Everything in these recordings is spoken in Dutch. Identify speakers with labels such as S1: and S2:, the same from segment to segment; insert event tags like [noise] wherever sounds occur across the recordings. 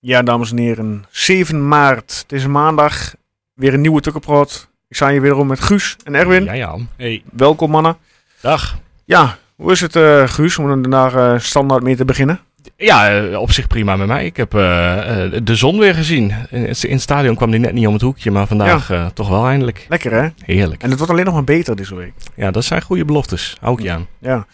S1: Ja, dames en heren. 7 maart. Het is maandag. Weer een nieuwe Tukkenprot. Ik sta hier wederom met Guus en Erwin.
S2: Ja, ja. Hey.
S1: Welkom, mannen.
S2: Dag.
S1: Ja, hoe is het, eh, Guus, om er daar eh, standaard mee te beginnen?
S2: Ja, eh, op zich prima met mij. Ik heb eh, eh, de zon weer gezien. In, in het stadion kwam die net niet om het hoekje, maar vandaag eh, toch wel eindelijk.
S1: Lekker, hè?
S2: Heerlijk.
S1: En het wordt alleen nog maar beter deze week.
S2: Ja, dat zijn goede beloftes. Hou ik je aan.
S1: Ja.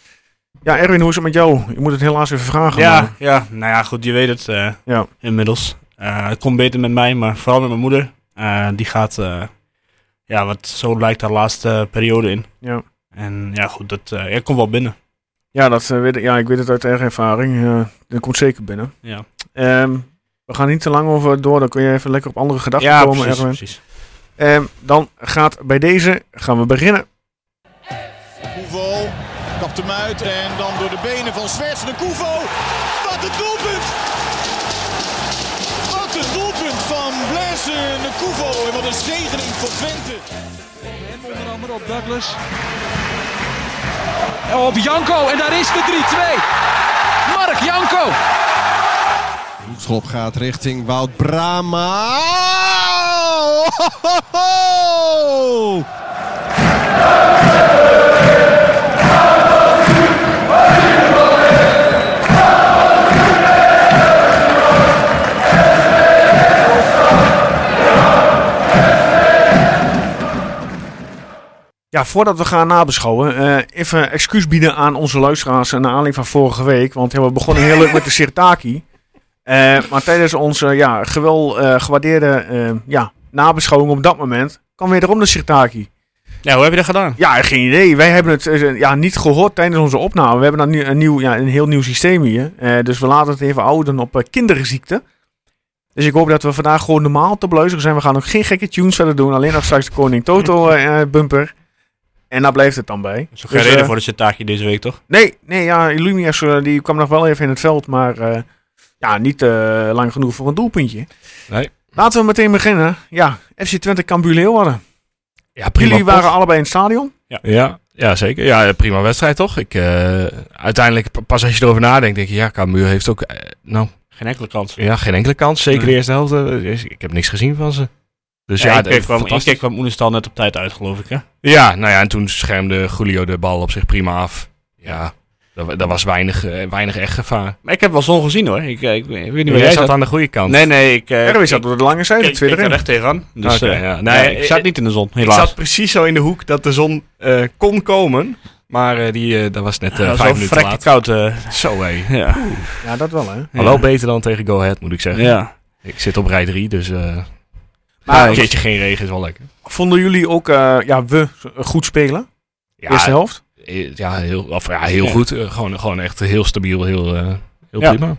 S1: Ja, Erwin, hoe is het met jou? Je moet het helaas even vragen.
S3: Ja,
S1: maar-
S3: ja, nou ja, goed, je weet het eh,
S1: Ja.
S3: inmiddels. Eh, het komt beter met mij, maar vooral met mijn moeder. Eh, die gaat, eh, ja, wat zo lijkt haar laatste eh, periode in.
S1: Ja.
S3: En ja, goed, dat eh, ja, komt wel binnen.
S1: Ja, dat, eh, weet ik, ja, ik weet het uit eigen ervaring. Eh, dat komt zeker binnen.
S3: Ja,
S1: Ehm, we gaan niet te lang over door. Dan kun je even lekker op andere gedachten
S3: ja
S1: komen,
S3: precies,
S1: Erwin.
S3: precies.
S1: Ehm, dan gaat bij deze gaan we beginnen.
S4: Koevo kapt hem uit en dan door de benen van Zwerts de Koevo. Wat een doelpunt! Wat een doelpunt van Blaise de Koevo en wat een zegening voor Twente.
S5: Hem onder andere op Douglas. En Op Janko en daar is de 3-2. Mark Janko.
S6: Schop gaat richting Wout Brama.
S1: Ja, voordat we gaan nabeschouwen, eh, even excuus bieden aan onze luisteraars eh, naar aanleiding van vorige week. Want ja, we begonnen heel leuk met de Sirtaki. Eh, maar tijdens onze ja, gewel eh, gewaardeerde eh, ja, nabeschouwing op dat moment kwam weer erom de Sirtaki.
S3: Ja, hoe heb je dat gedaan?
S1: Ja, geen idee. Wij hebben het eh, ja, niet gehoord tijdens onze opname. We hebben dan nu een, nieuw, ja, een heel nieuw systeem hier. Eh, dus we laten het even houden op eh, kinderziekte. Dus ik hoop dat we vandaag gewoon normaal te beluisteren zijn. We gaan ook geen gekke tunes verder doen. Alleen nog straks de Koning
S3: [laughs]
S1: Toto eh, eh, bumper. En daar blijft het dan bij.
S3: Dat is ook geen
S1: Dus,
S3: reden
S1: eh,
S3: voor dat je taakje deze week, toch?
S1: Nee, nee ja, Illumias eh, die kwam nog wel even in het veld. Maar eh, ja, niet eh, lang genoeg voor een doelpuntje.
S2: Nee.
S1: Laten we meteen beginnen. Ja, FC Twente Cambuur Leeuwarden.
S2: Ja,
S1: Jullie waren allebei in het stadion.
S2: Ja, ja, zeker. Ja, prima wedstrijd toch? Ik, eh, uiteindelijk, pa- pas als je erover nadenkt, denk je, ja, Cambuur heeft ook, eh, nou,
S3: Geen enkele kans.
S2: ja, geen enkele kans. Zeker de
S3: Nee.
S2: eerste helft. eh, is- ik heb niks gezien van ze. Dus
S3: Dus
S2: ja,
S3: ja,
S2: het-
S3: ik keer kwam, één
S2: fantastisch.
S3: keer kwam Oenestal net op tijd uit, geloof ik, hè?
S2: Ja, nou ja, en toen schermde Julio de bal op zich prima af. Ja, daar daar was weinig, eh, weinig echt gevaar.
S3: Maar ik heb wel zon gezien, hoor. Ik, eh, ik, weet niet
S2: Jij
S3: waar
S2: zat aan de goede kant.
S3: Nee, nee, ik... eh,
S1: Erwin
S3: ik-
S1: zat op de lange zijde,
S3: ik keek
S1: tweede
S3: er
S1: ring.
S3: echt tegenaan. Dus,
S2: Oké,
S3: eh,
S2: ja.
S3: nee,
S2: Nee,
S3: ik zat
S2: eh,
S3: niet in de zon,
S2: ik
S3: helaas.
S2: zat precies zo in de hoek dat de zon eh, kon komen. Maar eh, die, eh, dat was net eh,
S3: Dat was
S2: vijf
S3: wel
S2: minuten
S3: vrekke
S2: laat.
S3: koud, eh, [laughs]
S2: Zo hé.
S3: ja.
S1: Ja, dat wel hè.
S2: Maar Wel beter dan tegen Go Ahead, moet ik zeggen.
S3: Ja.
S2: Ik zit op rij 3, dus eh,
S1: Maar
S2: een keertje geen regen is wel lekker.
S1: Vonden jullie ook, eh, ja, we eh, goed spelen? Eerste
S2: Ja,
S1: helft?
S2: eh, ja heel, of, ja, heel
S3: Ja.
S2: goed. Eh, gewoon, gewoon echt heel stabiel, heel, eh, heel
S3: Ja.
S2: prima.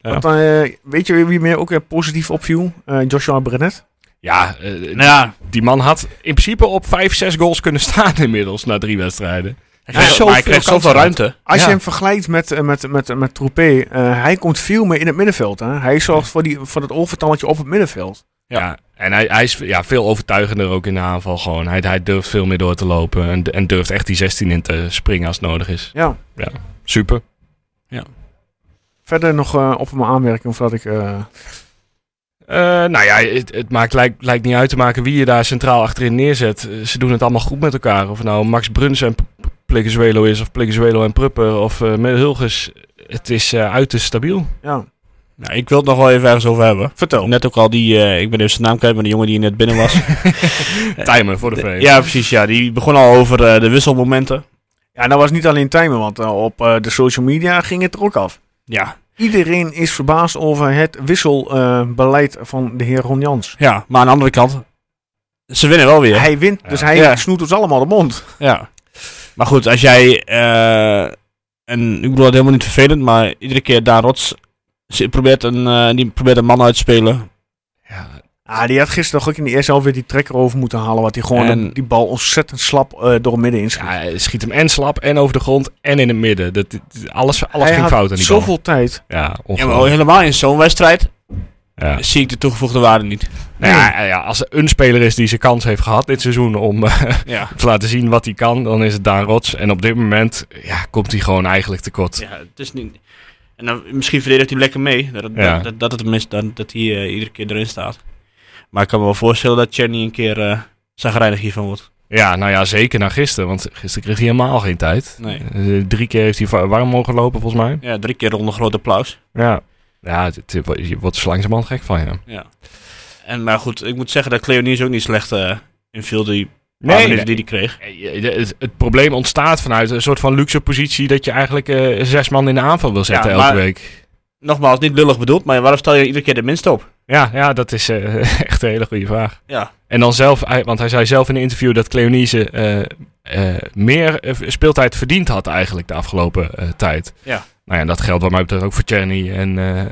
S2: Ja.
S1: Want, eh, weet je wie meer ook weer positief opviel? Eh, Joshua Brennet.
S2: Ja, eh,
S3: Nou ja,
S2: Die man had in principe op 5, 6 goals kunnen staan [laughs] inmiddels na drie wedstrijden.
S3: hij
S2: kreeg
S3: kreeg,
S2: zoveel
S3: maar hij kreeg
S2: kansen
S3: zoveel
S2: uit.
S3: ruimte.
S1: Als
S2: Ja.
S1: je hem vergelijkt met, eh, met, met, met Troepé, eh, hij komt veel meer in het middenveld. Hè? Hij zorgt voor, die, voor dat overtalletje op het middenveld.
S2: Ja. En hij, hij is ja, veel overtuigender ook in de aanval gewoon. Hij, hij durft veel meer door te lopen en, en durft echt die 16 in te springen als het nodig is.
S1: Ja.
S2: Super.
S1: Verder nog eh, op mijn aanmerking, voordat ik... eh,
S2: Eh, nou ja, het, het maakt, lijkt, lijkt niet uit te maken wie je daar centraal achterin neerzet. Eh, Ze doen het allemaal goed met elkaar. Of het nou Max Bruns en P- P- Plegezuelo is, of Plegezuelo en Pruppen, of eh Hulges. Het is eh uiterst stabiel.
S1: ja.
S3: Nou, ik wil het nog wel even ergens over hebben.
S1: Vertel.
S3: Net ook al die, eh, ik ben even zijn naam kwijt, maar de jongen die net binnen [laughs] was.
S2: Timer voor de V.
S3: ja, precies, ja. Die begon al over eh, de wisselmomenten.
S1: Ja, dat was niet alleen timer, want eh, op eh, de social media ging het er ook af.
S3: Ja,
S1: Iedereen is verbaasd over het wisselbeleid eh, van de heer Ron Jans.
S3: ja, maar aan de andere kant, ze winnen wel weer.
S1: Hij wint, dus hij
S3: Ja.
S1: snoet ons allemaal de mond.
S3: Ja. Maar goed, als jij, eh, en ik bedoel dat helemaal niet vervelend, maar iedere keer Daan Rots ze- probeert een, eh, die probeert een man uit te spelen.
S2: Ja,
S1: Ah, die had gisteren toch ook in de eerste helft weer die trekker over moeten halen. Wat hij gewoon
S2: En-
S1: de- die bal ontzettend slap eh, door midden inschiet.
S2: Ja, hij schiet hem en slap en over de grond en in het midden. Dat, dat- alles alles
S1: Hij
S2: ging
S1: had
S2: fout aan die bal.
S1: Zoveel tijd.
S2: Ja,
S3: Ja, maar
S2: ongelooflijk.
S3: helemaal in zo'n wedstrijd
S2: Ja.
S3: zie ik de toegevoegde waarde niet.
S2: Nou ja, ja, als er een speler is die zijn kans heeft gehad dit seizoen om eh, [laughs]
S3: Ja.
S2: te laten zien wat hij
S3: [laughs]
S2: kan, dan is het Daan Rots. En op dit moment ja, komt hij gewoon eigenlijk tekort.
S3: Ja, het is niet. En dan, misschien verdedigt hij lekker mee. Dat, dat,
S2: Ja.
S3: dat, dat, het mis, dat, dat hij eh, iedere keer erin staat. Maar ik kan me wel voorstellen dat Chenny een keer eh zagrijnig hiervan wordt.
S2: Ja, nou ja, zeker na gisteren. Want gisteren kreeg hij helemaal geen tijd.
S3: Nee.
S2: Eh, drie keer heeft hij va- warm mogen lopen, volgens mij.
S3: Ja, drie keer onder groot applaus.
S2: Ja. Ja, het, het- je wordt zo langzamerhand gek van hem.
S3: Ja. En, maar goed, ik moet zeggen dat Cleonius ook niet slecht eh in veel die paar minuten die hij kreeg.
S2: Eh, je- Het, het probleem ontstaat vanuit een soort van luxe positie dat je eigenlijk eh, zes man in de aanval wil zetten
S3: Ja,
S2: elke
S3: maar-
S2: week.
S3: Nogmaals, niet lullig bedoeld, maar waarom stel je iedere keer de minste op?
S2: Ja, ja, dat is eh, [laughs] echt een hele goede vraag.
S3: Ja.
S2: En dan zelf, hij- want hij zei zelf in een interview dat Cleonise eh, eh, meer eh, speeltijd verdiend had eigenlijk de afgelopen eh, tijd.
S3: Ja.
S2: Nou ja, dat geldt wat mij betreft ook voor Czerny. En, eh,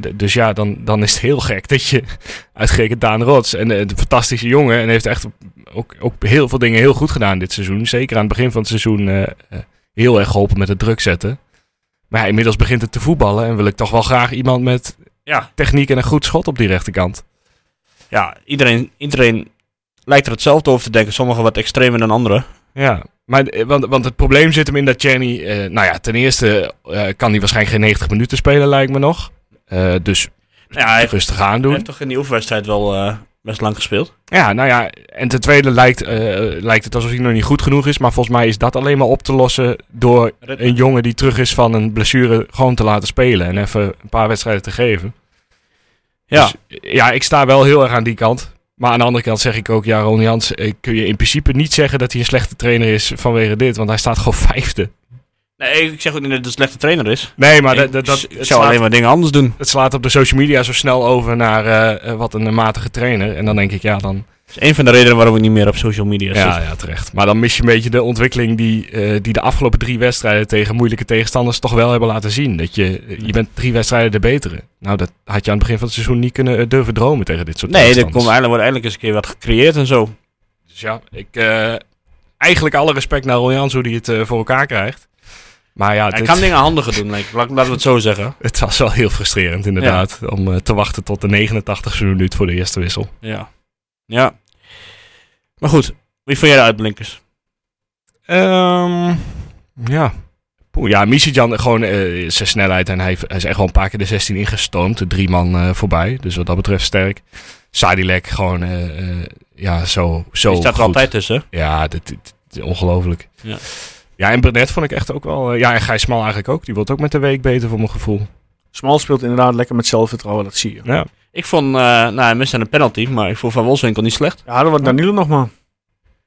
S2: d- dus ja, dan, dan is het heel gek dat je [laughs] uitgerekend Daan Rots, en eh, een fantastische jongen, en heeft echt ook, ook heel veel dingen heel goed gedaan dit seizoen. Zeker aan het begin van het seizoen eh, eh, heel erg geholpen met het druk zetten. Maar ja, inmiddels begint het te voetballen en wil ik toch wel graag iemand met
S3: Ja.
S2: techniek en een goed schot op die rechterkant.
S3: Ja, iedereen, iedereen lijkt er hetzelfde over te denken. Sommigen wat extremer dan anderen.
S2: Ja, maar, eh, want, want het probleem zit hem in dat Czerny... eh, nou ja, ten eerste eh, kan hij waarschijnlijk geen 90 minuten spelen, lijkt me nog. Eh, dus
S3: Ja, hij heeft,
S2: rustig aan
S3: hij
S2: doen.
S3: heeft toch in die oefenwedstrijd wel eh, best lang gespeeld.
S2: Ja, nou ja, en ten tweede lijkt, eh, lijkt het alsof hij nog niet goed genoeg is. Maar volgens mij is dat alleen maar op te lossen door
S3: Ritme.
S2: een jongen die terug is van een blessure gewoon te laten spelen. En even een paar wedstrijden te geven.
S3: Ja.
S2: Dus, eh, ja, ik sta wel heel erg aan die kant. Maar aan de andere kant zeg ik ook, ja, Ron Jans, eh, kun je in principe niet zeggen dat hij een slechte trainer is vanwege dit. Want hij staat gewoon vijfde.
S3: Nee, ik zeg ook niet dat het een slechte trainer is.
S2: Nee, maar
S3: Maar
S2: dat, dat, dat-
S3: ik
S2: het,
S3: zou
S2: slaat,
S3: alleen maar dingen anders doen.
S2: het slaat op de social media zo snel over naar eh, eh, wat een eh, matige trainer. En dan denk ik, ja, dan,
S3: Dat is een van de redenen waarom ik niet meer op social media
S2: ja,
S3: zit.
S2: ja, terecht. Maar dan mis je een beetje de ontwikkeling die, eh, die de afgelopen drie wedstrijden tegen moeilijke tegenstanders toch wel hebben laten zien. Dat je, eh, je bent drie wedstrijden de betere. Nou, dat had je aan het begin van het seizoen niet kunnen eh, durven dromen tegen dit soort
S3: Nee, er komt
S2: tegenstanders.
S3: eigenlijk, wordt eindelijk eens een keer wat gecreëerd en zo.
S2: Dus ja, ik, eh, eigenlijk alle respect naar Ron Jans hoe hij het eh, voor elkaar krijgt. Maar ja, [laughs]
S3: Hij
S2: dit-
S3: kan dingen handiger doen, denk ik. Laat- Laten we het zo zeggen.
S2: het was wel heel frustrerend inderdaad om eh, te wachten tot de 89 e minuut voor de eerste wissel.
S3: Ja. Ja. Maar goed, wie vond jij de uitblinkers?
S2: Ehm ja. Poeh, ja, Misitjan, gewoon eh, zijn snelheid. En hij, heeft- hij is echt wel een paar keer de 16 ingestoomd. De drie man eh, voorbij. Dus wat dat betreft sterk. Sadilek gewoon, eh, eh, ja, zo, zo
S3: Die staat er
S2: goed.
S3: altijd tussen.
S2: Ja, dit, dit- dit is ongelooflijk.
S3: Ja.
S2: Ja, en Brenet vond ik echt ook wel... eh, ja, en Gijs Smal eigenlijk ook. Die wordt ook met de week beter voor mijn gevoel.
S1: Smal speelt inderdaad lekker met zelfvertrouwen, dat zie je.
S2: Ja.
S3: Ik vond, eh, nou, hij miste een penalty, maar ik vond Van Wolfswinkel niet slecht.
S1: Ja, hadden we Danilo nog maar.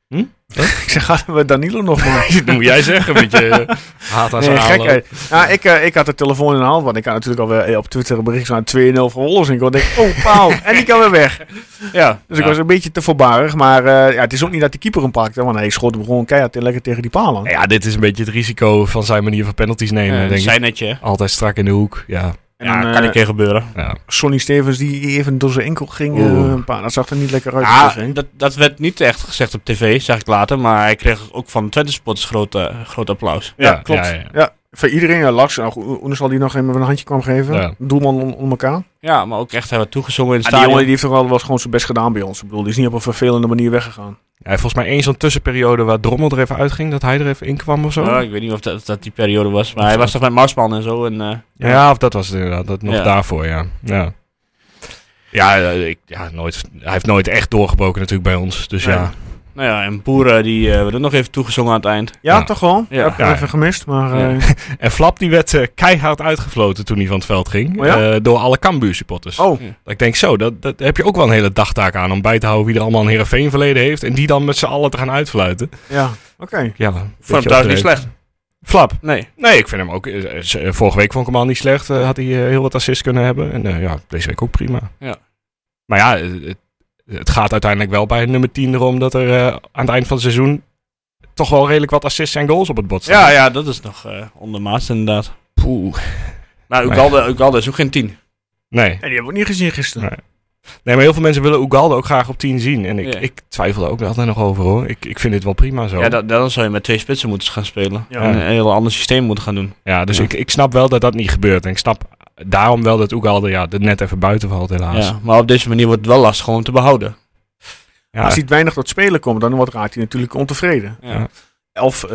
S2: Hm?
S1: [laughs] ik zeg, hadden we Danilo nog maar.
S2: dat moet jij zeggen, met je eh, [laughs] haat aan zijn
S1: Nee,
S2: aanloop.
S1: gekheid. Ja, ik, eh, ik had de telefoon in de hand, want ik had natuurlijk alweer eh, op Twitter een bericht aan 2-0 voor Wolfswinkel. Ik denk, oh, paal. en die kan weer weg.
S3: Ja.
S1: Dus ik was een beetje te voorbarig. Maar eh, ja, het is ook niet dat de keeper hem pakte, want hij schoot hem gewoon keihard en lekker tegen die paal aan.
S2: Nou Ja, dit is een beetje het risico van zijn manier van penalties nemen,
S3: Ja,
S2: denk ik.
S3: zijn eh, netje.
S2: Altijd strak in de hoek, ja.
S1: En
S3: Ja,
S1: dan,
S3: kan
S1: eh,
S3: een keer gebeuren.
S2: ja.
S1: Sonny Stevens die even door zijn enkel ging. eh,
S2: Oeh.
S1: een paar, dat zag er niet lekker uit.
S3: Ja,
S1: Dus, hè.
S3: dat, dat werd niet echt gezegd op tv, zag ik later. Maar hij kreeg ook van Twente supporters groot, eh, groot applaus.
S1: Ja,
S2: Ja,
S1: klopt.
S2: ja,
S1: Ja,
S2: ja.
S1: voor iedereen. Ja, Lars, nou, goed, Oenes zal die nog even een handje kwam geven.
S2: Ja.
S1: Doelman on- onder elkaar.
S3: Ja, maar ook echt hij werd toegezongen in het
S1: En die Ah, jongen
S3: stadion.
S1: die heeft toch wel wel eens gewoon zijn best gedaan bij ons. Ik bedoel, die is niet op een vervelende manier weggegaan.
S2: Ja, volgens mij één zo'n tussenperiode waar Drommel er even uitging, dat hij er even in kwam of zo.
S3: Ja, Ah, ik weet niet of dat, dat die periode was, maar hij was toch met Marsman en zo. En, eh,
S2: Ja, of dat was het inderdaad. Dat, nog
S3: Ja.
S2: daarvoor, ja. Ja, ja, eh, ik, ja nooit, hij heeft nooit echt doorgebroken natuurlijk bij ons. Dus
S3: Nee.
S2: ja.
S3: nou ja, en Boeren die eh, werd ook nog even toegezongen aan het eind.
S1: Ja,
S2: Ja.
S1: toch wel?
S3: Ja.
S1: Ja. Heb ik
S2: Ja,
S1: even gemist, maar...
S3: Ja.
S2: [laughs]
S1: eh,
S2: En Flap die werd eh, keihard uitgefloten toen hij van het veld ging.
S1: Oh ja?
S2: eh, door alle Cambuur supporters.
S1: Oh,
S2: Dat ik denk zo, dat, dat heb je ook wel een hele dagtaak aan om bij te houden wie er allemaal een Heerenveen verleden heeft. En die dan met z'n allen te gaan uitfluiten.
S1: ja. Oké.
S2: Ja,
S3: Vond hem trouwens niet slecht.
S2: Flap.
S3: Nee.
S2: Nee, ik vind hem ook. eh, eh, z- eh, Vorige week vond ik hem al niet slecht. Eh, had hij eh, heel wat assists kunnen hebben. En eh, ja, deze week ook prima.
S3: Ja.
S2: Maar ja, eh, het, het gaat uiteindelijk wel bij nummer 10 erom dat er eh, aan het eind van het seizoen toch wel redelijk wat assists en goals op het bord staan.
S3: Ja, ja, dat is nog eh ondermaats inderdaad.
S2: Poeh.
S3: Nou,
S2: Nee.
S3: Ugalde, Ugalde is ook geen tien.
S1: En
S2: Nee.
S1: die hebben we ook niet gezien gisteren.
S2: Nee. Nee, maar heel veel mensen willen Ugalde ook graag op 10 zien. En ik,
S3: Ja.
S2: ik twijfel er ook altijd nog over hoor. Ik, ik vind dit wel prima zo.
S3: Ja, dat, dan zou je met twee spitsen moeten gaan spelen.
S1: Ja.
S3: En een heel ander systeem moeten gaan doen.
S2: Ja, dus
S3: Ja.
S2: Ik, ik snap wel dat dat niet gebeurt. En ik snap daarom wel dat Ugalde ja, er net even buiten valt helaas.
S3: Ja, maar op deze manier wordt het wel lastig om hem te behouden.
S2: Ja.
S1: Als hij weinig tot spelen komt, dan wordt raakt hij natuurlijk ontevreden.
S3: Ja.
S2: Ja.
S1: Of eh,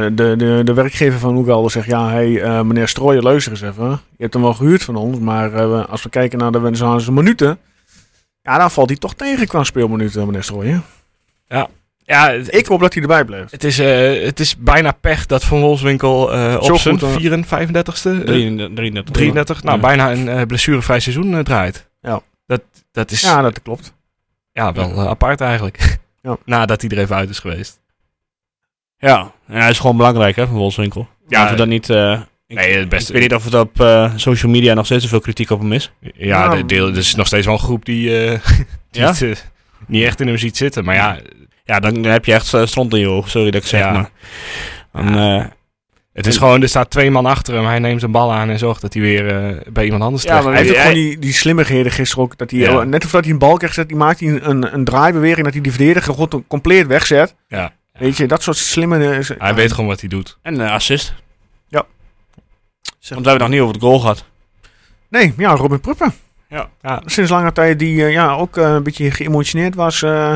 S1: de, de, de werkgever van Hoegalder zegt, ja, hey, eh, meneer Strooijen, luister eens even. Je hebt hem wel gehuurd van ons, maar eh, we- als we kijken naar de Venezolaanse minuten... Ja, daar valt hij toch tegen qua speelminuten, meneer Strooijen.
S2: Ja, het,
S1: Ik hoop dat hij erbij blijft.
S2: het, is, eh, het is bijna pech dat Van Wolfswinkel eh,
S1: Zo
S2: op zijn
S1: goed, hoor.
S2: 34, 35ste, eh,
S3: 33.
S2: 33, nou
S3: Ja.
S2: bijna een eh, blessurevrij seizoen eh, draait.
S1: Ja.
S2: Dat, dat is
S1: Ja,
S2: ja,
S1: dat klopt.
S2: wel eh, apart eigenlijk. [laughs]
S1: Ja.
S2: Nadat hij er even uit is geweest.
S3: Ja, en hij is gewoon belangrijk, hè, van Wolfswinkel.
S2: Ja,
S3: Ja, dat niet... eh, ik,
S2: nee, het beste-
S3: ik weet niet of het op eh, social media nog steeds zoveel kritiek op hem is.
S2: Ja,
S1: Nou,
S2: de, deel, er is nog steeds wel een groep die, eh, [laughs] die
S3: Ja?
S2: het, eh, niet echt in hem ziet zitten. Maar ja,
S3: Ja, dan, dan heb je echt eh, stront in je oog, sorry dat ik zeg,
S2: Ja.
S3: maar... Dan, eh,
S2: het is gewoon, er staat twee man achter hem. Hij neemt een bal aan en zorgt dat hij weer eh, bij iemand anders
S3: Ja,
S2: terecht
S3: maar
S1: Hij heeft ook
S3: Hij-
S1: gewoon die, die slimmigheden gisteren ook. Dat hij,
S2: Ja.
S1: Net of dat hij een bal krijgt, zet, die maakt hij een, een, een draaibeweging. Dat hij die verdediger gewoon compleet wegzet.
S2: Ja.
S1: Weet je, dat soort slimme... eh, z-
S2: Hij
S1: ja,
S2: weet gewoon wat hij doet.
S3: en eh, assist.
S1: Ja.
S3: Want we hebben het nog niet over het goal gehad.
S1: Nee, ja, Robin Pruppen.
S3: Ja.
S1: Sinds lange tijd die eh, ja, ook eh, een beetje geëmotioneerd was... eh,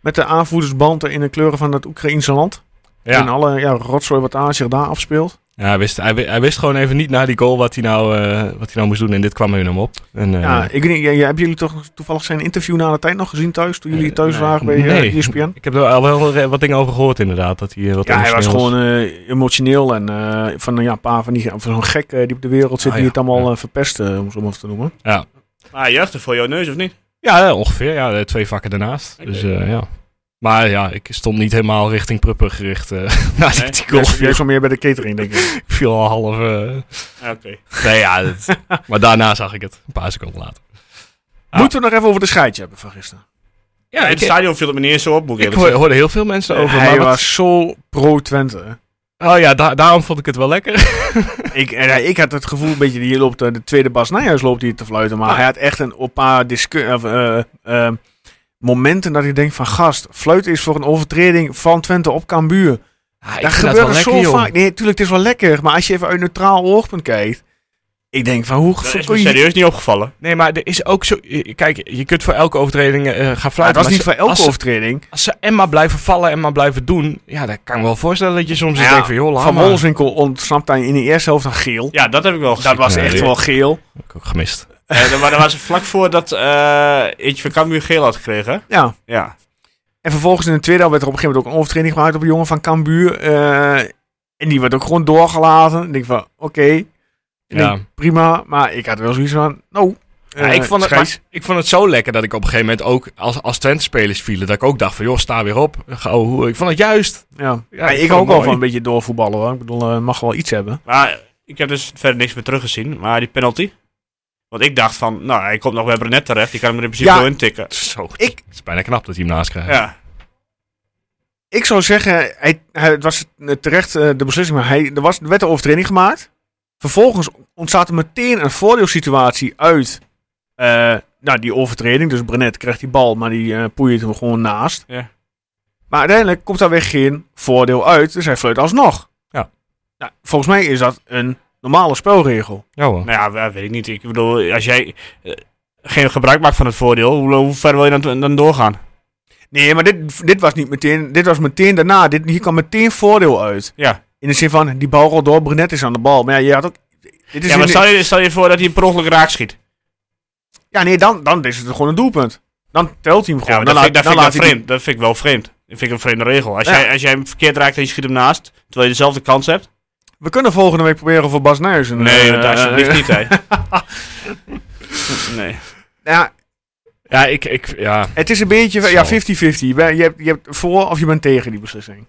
S1: met de aanvoerdersbanden in de kleuren van het Oekraïnse land. En
S2: Ja,
S1: alle ja, rotzooi wat aan zich daar afspeelt.
S2: ja hij, wist, hij, wi- hij wist gewoon even niet na die goal wat hij nou, eh, wat hij nou moest doen. En dit kwam hun hem op. En, eh,
S1: Ja, ik weet niet, ja, ja, hebben jullie toch toevallig zijn interview na de tijd nog gezien thuis? Toen jullie
S3: Eh,
S1: thuis
S3: nee.
S1: waren bij
S2: Nee.
S1: eh, ESPN?
S2: [laughs] Ik heb er al wel eh, wat dingen over gehoord inderdaad. Dat hij, eh, wat
S1: Ja, hij was
S2: emotioneel
S1: gewoon eh, emotioneel en eh, van eh, ja, een paar van die van zo'n gek eh, die op de wereld zit
S2: Ah,
S1: die
S2: ja.
S1: het allemaal eh, verpest, eh, om zo maar even te noemen.
S3: Maar je voor jouw neus, of niet?
S2: Ja, eh, ongeveer. Ja, eh, twee vakken daarnaast.
S3: Oké.
S2: Dus eh, ja. Maar ja, ik stond niet helemaal richting Prupper gericht. eh [laughs] na die
S3: Nee.
S1: Jij
S2: goal
S1: is-
S2: viel
S1: Jij is wel meer bij de catering, denk
S2: [laughs]
S1: ik.
S2: ik viel al half... eh,
S3: Oké.
S2: Nee, ja.
S3: [laughs]
S2: dat- maar daarna zag ik het. Een paar seconden later. Ah.
S1: Moeten we het nog even over de scheidje hebben van gisteren?
S2: Ja,
S3: in
S2: ik,
S3: het stadion viel het me niet eens zo op, moet ik Oh,
S2: ik
S3: eerlijk
S2: hoor- hoorde heel veel mensen over.
S1: Hij
S2: maar wat-
S1: was zo pro-Twente.
S2: Oh ja, da- daarom vond ik het wel lekker. [laughs]
S1: ik, en, eh, ik had het gevoel, een beetje, die loopt, eh, de tweede Bas Nijhuis loopt hier te fluiten, maar hij had echt een op paar discu- of, eh, eh, momenten dat ik denk van gast, fluiten is voor een overtreding van Twente op Cambuur.
S2: ik
S1: Dat
S2: vind
S1: gebeurt
S2: wel
S1: er zo
S2: lekker, joh.
S1: vaak. Nee, tuurlijk, het is wel lekker. Maar als je even uit een neutraal oogpunt kijkt. Ik denk van hoe
S3: Dat is
S1: kun
S3: me
S1: je-
S3: serieus niet opgevallen.
S2: Nee, maar er is ook zo... eh, Kijk, je kunt voor elke overtreding eh, gaan
S1: Ja, het
S2: fluiten.
S1: was
S2: maar
S1: niet
S2: ze-
S1: voor elke
S2: als ze-
S1: overtreding.
S2: Als ze en maar blijven vallen en maar blijven doen... Ja, dan kan ik me wel voorstellen dat je soms eens
S1: Ja,
S2: denkt van... Joh, laat
S1: Van
S2: maar.
S1: Wolfswinkel ontsnapt hij in de eerste helft aan geel.
S3: Ja, dat heb ik wel gezien.
S1: Dat was
S2: Ja,
S1: echt
S2: ja.
S1: wel geel.
S2: Heb ik ook gemist.
S3: Eh, maar daar was ze vlak voor dat eh eentje van Cambuur geel had gekregen. hè?
S1: Ja.
S3: Ja.
S1: En vervolgens in de tweede helft werd er op een gegeven moment ook een overtreding gemaakt op een jongen van Cambuur. eh, en die werd ook gewoon doorgelaten. Ik denk van oké. Ik
S2: Ja.
S1: denk, Prima. Maar ik had wel zoiets van. Nou.
S2: Ja,
S1: eh,
S2: ik, vond het,
S1: scheids.
S2: maar ik vond het zo lekker dat ik op een gegeven moment ook als, als Twente-spelers vielen, dat ik ook dacht van, joh, sta weer op. Gauw, hoe- ik vond het juist. [laughs]
S1: Ja.
S2: Ja,
S1: Maar
S2: ik
S1: ik
S2: vond
S1: hou
S2: het
S1: ook wel
S2: mooi.
S1: van een beetje doorvoetballen hoor. Ik bedoel, eh, mag wel iets hebben.
S3: Maar ik heb dus verder niks meer teruggezien. Maar die penalty. Want ik dacht van, nou, hij komt nog bij Brenet terecht. Die kan hem er in principe
S1: Ja.
S3: wel intikken.
S2: Zo,
S1: Ik-
S2: het is bijna knap dat hij hem naast krijgt.
S3: Ja.
S1: Ik zou zeggen, hij, hij- het was eh, terecht eh, de beslissing, maar hij, er, was, er werd een overtreding gemaakt. Vervolgens ontstaat er meteen een voordeelsituatie uit eh, nou, die overtreding. Dus Brenet krijgt die bal, maar die eh poeit hem gewoon naast.
S3: Ja.
S1: Maar uiteindelijk komt daar weer geen voordeel uit, dus hij fluit alsnog.
S2: Ja.
S1: Nou, volgens mij is dat een normale spelregel.
S2: Ja hoor.
S3: Nou ja, we- weet ik niet. Ik bedoel, als jij eh, geen gebruik maakt van het voordeel, hoe, hoe ver wil je dan, dan doorgaan?
S1: Nee, maar dit, dit was niet meteen, dit was meteen daarna. Dit, hier kwam meteen voordeel uit.
S3: Ja.
S1: In de zin van, die bal rolt door, Brenet is aan de bal. Maar ja, je had ook... Dit is
S3: ja, maar
S1: in-
S3: stel je, stel je voor dat hij per ongeluk raak schiet.
S1: Ja, nee, dan, dan is het gewoon een doelpunt. Dan telt hij hem
S3: Ja,
S1: gewoon.
S3: maar
S1: dan
S3: dat,
S1: laat-
S3: vind, dat, vind ik
S1: dan
S3: wel
S1: laat hij die-
S3: vreemd. dat vind ik wel vreemd. Dat vind ik een vreemde regel. Als,
S1: Ja.
S3: jij, als jij hem verkeerd raakt en je schiet hem naast, terwijl je dezelfde kans hebt.
S1: We kunnen volgende week proberen voor Bas Nijs. een,
S3: Nee,
S1: eh,
S3: want alsjeblieft
S1: eh,
S3: niet, hè. nee.
S1: Ja,
S2: Ja, ik, ik, ja.
S1: het is een beetje
S2: Zo.
S1: ja, 50-50. Je, bent- je hebt, je hebt voor of je bent tegen die beslissing.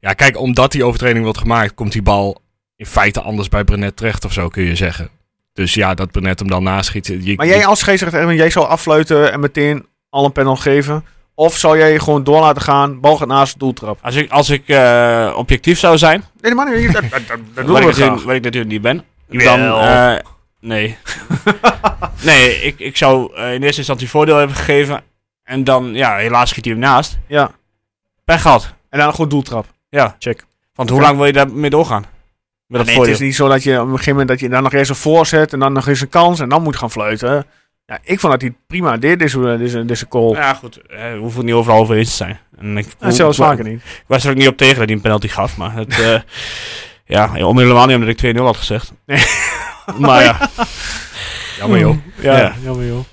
S2: ja, kijk, omdat die overtreding wordt gemaakt, komt die bal in feite anders bij Brenet terecht of zo, kun je zeggen. Dus ja, dat Brenet hem dan naschiet. Je,
S1: Maar jij
S2: je-
S1: als scheidsrechter, Erwin, jij zou affluiten en meteen al een panel geven. Of zou jij gewoon door laten gaan, bal gaat naast de doeltrap?
S3: Als ik, als ik eh, objectief zou zijn,
S1: Nee, maar nee, dat, dat,
S3: [laughs]
S1: dat, dat doen
S3: wat ik,
S1: we
S3: natuurlijk,
S1: graag.
S3: wat ik natuurlijk niet ben, dan...
S1: Jawel.
S3: eh, nee. [laughs] nee, ik, ik zou eh, in eerste instantie voordeel hebben gegeven. En dan, ja, helaas schiet hij hem naast.
S1: Ja.
S3: Pech gehad.
S1: En dan gewoon doeltrap.
S3: Ja.
S1: Check.
S3: Want hoe lang wil je daarmee doorgaan? Met dat
S1: Nee, het
S3: voordeel.
S1: is niet zo dat je op een gegeven moment dat je dan nog eerst een voorzet en dan nog eens een kans en dan moet gaan fluiten. Ja, ik vond dat hij het prima deed, deze, deze, deze call.
S3: Ja, goed. eh, we hoeven niet overal over eens te zijn. Eh, En ik,
S1: En zelfs vaker niet.
S3: Ik was er ook niet op tegen dat hij een penalty gaf, maar het,
S2: [laughs]
S3: eh, ja, ja, om helemaal niet omdat ik 2-0 had gezegd.
S1: Nee.
S3: [laughs] maar ja,
S2: Jammer joh.
S1: Ja,
S3: Ja.
S1: jammer joh.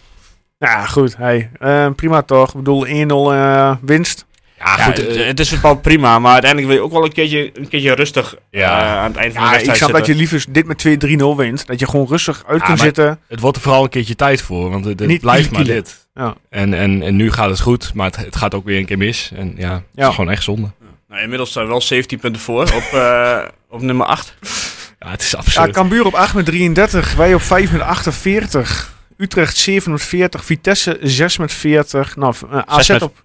S1: Nou goed, hey, eh, prima toch. Ik bedoel, 1-0 eh, winst.
S2: Ja, [laughs]
S3: ja,
S2: goed.
S3: het,
S2: eh,
S3: het is wel prima, maar uiteindelijk wil je ook wel een keertje, een keertje rustig
S2: Ja.
S3: eh, aan het eind van
S1: Ja,
S3: de
S1: ik snap
S3: wedstrijd
S1: dat je
S3: zitten.
S1: liever dit met 2-3-0 wint. Dat je gewoon rustig uit
S2: Ja,
S1: kan
S2: maar-
S1: zitten.
S2: het wordt er vooral een keertje tijd voor, want het, het
S1: Niet
S2: blijft maar
S1: kielen.
S2: dit.
S1: Ja.
S2: En, en, en nu gaat het goed, maar het, het gaat ook weer een keer mis. En ja, het
S1: Ja.
S2: is gewoon echt zonde.
S3: Nou, inmiddels zijn we wel 17 punten voor op, [laughs] eh, op nummer 8.
S2: Ja, het is
S1: Ja,
S2: absurd.
S1: Ah, Cambuur op 8 met 33. Wij op 5 met 48. Utrecht 7 met 40. Vitesse 6 met 40. Nou, eh, AZ
S3: met-
S1: op...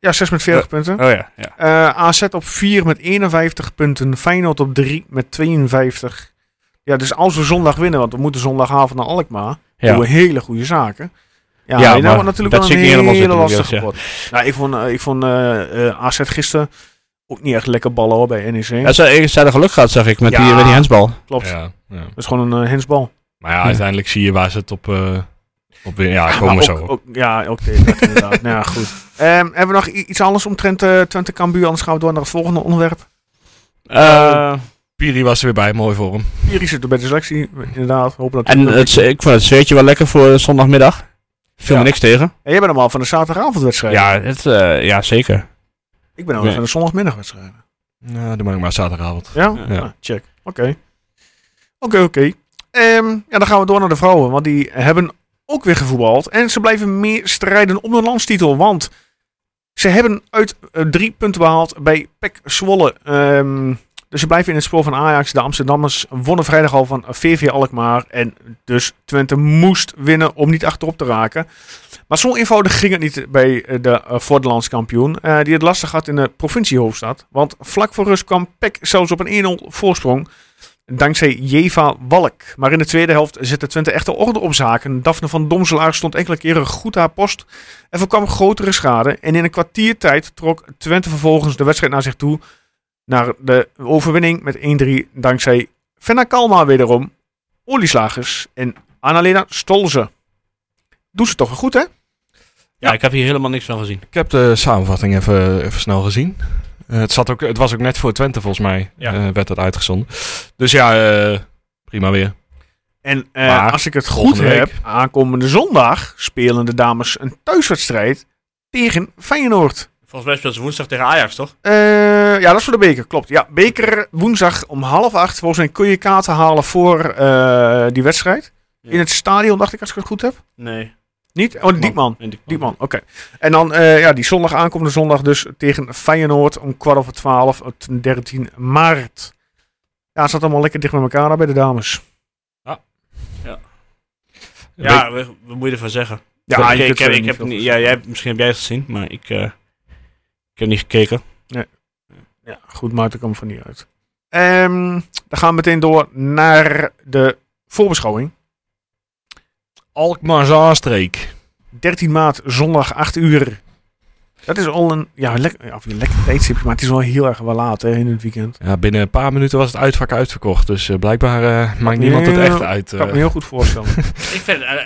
S1: Ja, 6 met 40 punten.
S3: Oh ja, ja.
S1: Eh, AZ op 4 met 51 punten. Feyenoord op 3 met 52. Ja, dus als we zondag winnen, want we moeten zondagavond naar Alkmaar.
S3: Ja.
S1: Doen we hele goede zaken. Ja,
S3: Ja,
S1: ja
S3: maar
S1: nou, natuurlijk wel
S3: dat zie
S1: een
S3: ik niet
S1: hele,
S3: helemaal zitten, moet ik
S1: lastige pot.
S3: eerlijk
S1: Nou, ik vond, eh, ik vond eh, eh, AZ gisteren ook niet echt lekker ballen hoor, bij NEC.
S3: Ja, ze ze hadden geluk gehad, zag ik, met,
S1: Ja.
S3: die, met die handsbal.
S1: Klopt.
S2: Ja, ja.
S1: Dat is gewoon een eh, hensbal.
S2: Maar ja, uiteindelijk zie je waar ze het op... eh, op weer- ja, komen
S1: Ah, Maar
S2: we zo.
S1: ook-
S2: op.
S1: ook- ja, ook tegen [laughs] dat, inderdaad. nou ja, goed. Ehm, hebben we nog i- iets anders omtrent eh Twente Cambuur? Anders gaan we door naar het volgende onderwerp.
S3: Eh,
S2: Piri was er weer bij, mooi voor hem.
S1: Piri zit er bij de selectie, inderdaad. Hopen dat
S3: en het, ik vond het zweetje wel lekker voor zondagmiddag. Viel
S1: Ja.
S3: me niks tegen.
S1: En jij bent allemaal van de zaterdagavondwedstrijd.
S3: Ja, het, eh, ja zeker.
S1: Ik ben ook
S3: Nee.
S1: van de zondagmiddagwedstrijd.
S2: Nou, doe maar maar zaterdagavond.
S1: Ja?
S3: Ja.
S1: Ah, check. Oké. Oké, oké. Ehm, ja, dan gaan we door naar de vrouwen. Want die hebben ook weer gevoetbald. En ze blijven meer strijden om de landstitel. Want ze hebben uit eh, drie punten behaald bij PEC Zwolle. Ehm, dus ze blijven in het spoor van Ajax. De Amsterdammers wonnen vrijdag al van VV Alkmaar. En dus Twente moest winnen om niet achterop te raken. Maar zo eenvoudig ging het niet bij eh, de eh, Voordelandskampioen. eh, die het lastig had in de provinciehoofdstad. Want vlak voor rust kwam Peck zelfs op een 1-0 voorsprong. Dankzij Jeva Walk. Maar in de tweede helft zette Twente echt de orde op zaken. Daphne van Domselaar stond enkele keren goed haar post. En voorkwam grotere schade. En in een kwartiertijd trok Twente vervolgens de wedstrijd naar zich toe. Naar de overwinning met 1-3. Dankzij Fenna Kalma wederom. Olieslagers en Annalena Stolze. Doet ze toch weer goed, hè?
S3: Ja, ik heb hier helemaal niks van gezien.
S2: Ik heb de samenvatting even, even snel gezien. Eh, het, zat ook, het was ook net voor Twente volgens mij,
S3: Ja.
S2: eh, werd dat uitgezonden. Dus ja, eh, prima weer.
S1: En eh,
S2: Maar
S1: als ik het goed
S2: volgende week-
S1: heb, aankomende zondag spelen de dames een thuiswedstrijd tegen Feyenoord.
S3: Volgens mij speelt ze woensdag tegen Ajax, toch?
S1: Eh, ja, dat is voor de beker, klopt. Ja, beker woensdag om half acht. Volgens mij kun je kaarten halen voor eh, die wedstrijd.
S3: Ja.
S1: In het stadion, dacht ik, als ik het goed heb.
S3: Nee.
S1: Niet? Oh, Diekman.
S3: Nee, Diekman.
S1: Diekman, oké. En dan, eh, ja, die zondag, aankomende zondag dus tegen Feyenoord om kwart over twaalf, op 13 maart. Ja, het zat allemaal lekker dicht bij elkaar daar bij de dames.
S3: Ja, we- wat moet je ervan zeggen?
S1: Ja,
S3: Oké,
S1: je kunt
S3: ik heb,
S1: er
S3: ik
S1: niet
S3: heb
S1: veel
S3: niet,
S1: van
S3: ja,
S1: zeggen.
S3: jij, hebt- misschien heb jij het gezien, maar ik, eh, ik heb niet gekeken.
S1: Ja, goed, maar dat komt van niet uit. Ehm, dan gaan we meteen door naar de voorbeschouwing.
S2: Alkmaar Zaanstreek.
S1: 13 maart, zondag, 8 uur. Dat is al een ja, lekker, ja, of een lekker tijdstipje, maar het is wel heel erg wel laat hè, in het weekend.
S2: Ja, binnen een paar minuten was het uitvak uitverkocht. Dus eh, blijkbaar eh, maakt niemand het
S1: heel-
S2: echt uit.
S1: Dat kan ik
S2: eh.
S1: me heel goed [laughs] voorstellen.
S3: Ik vind het eh,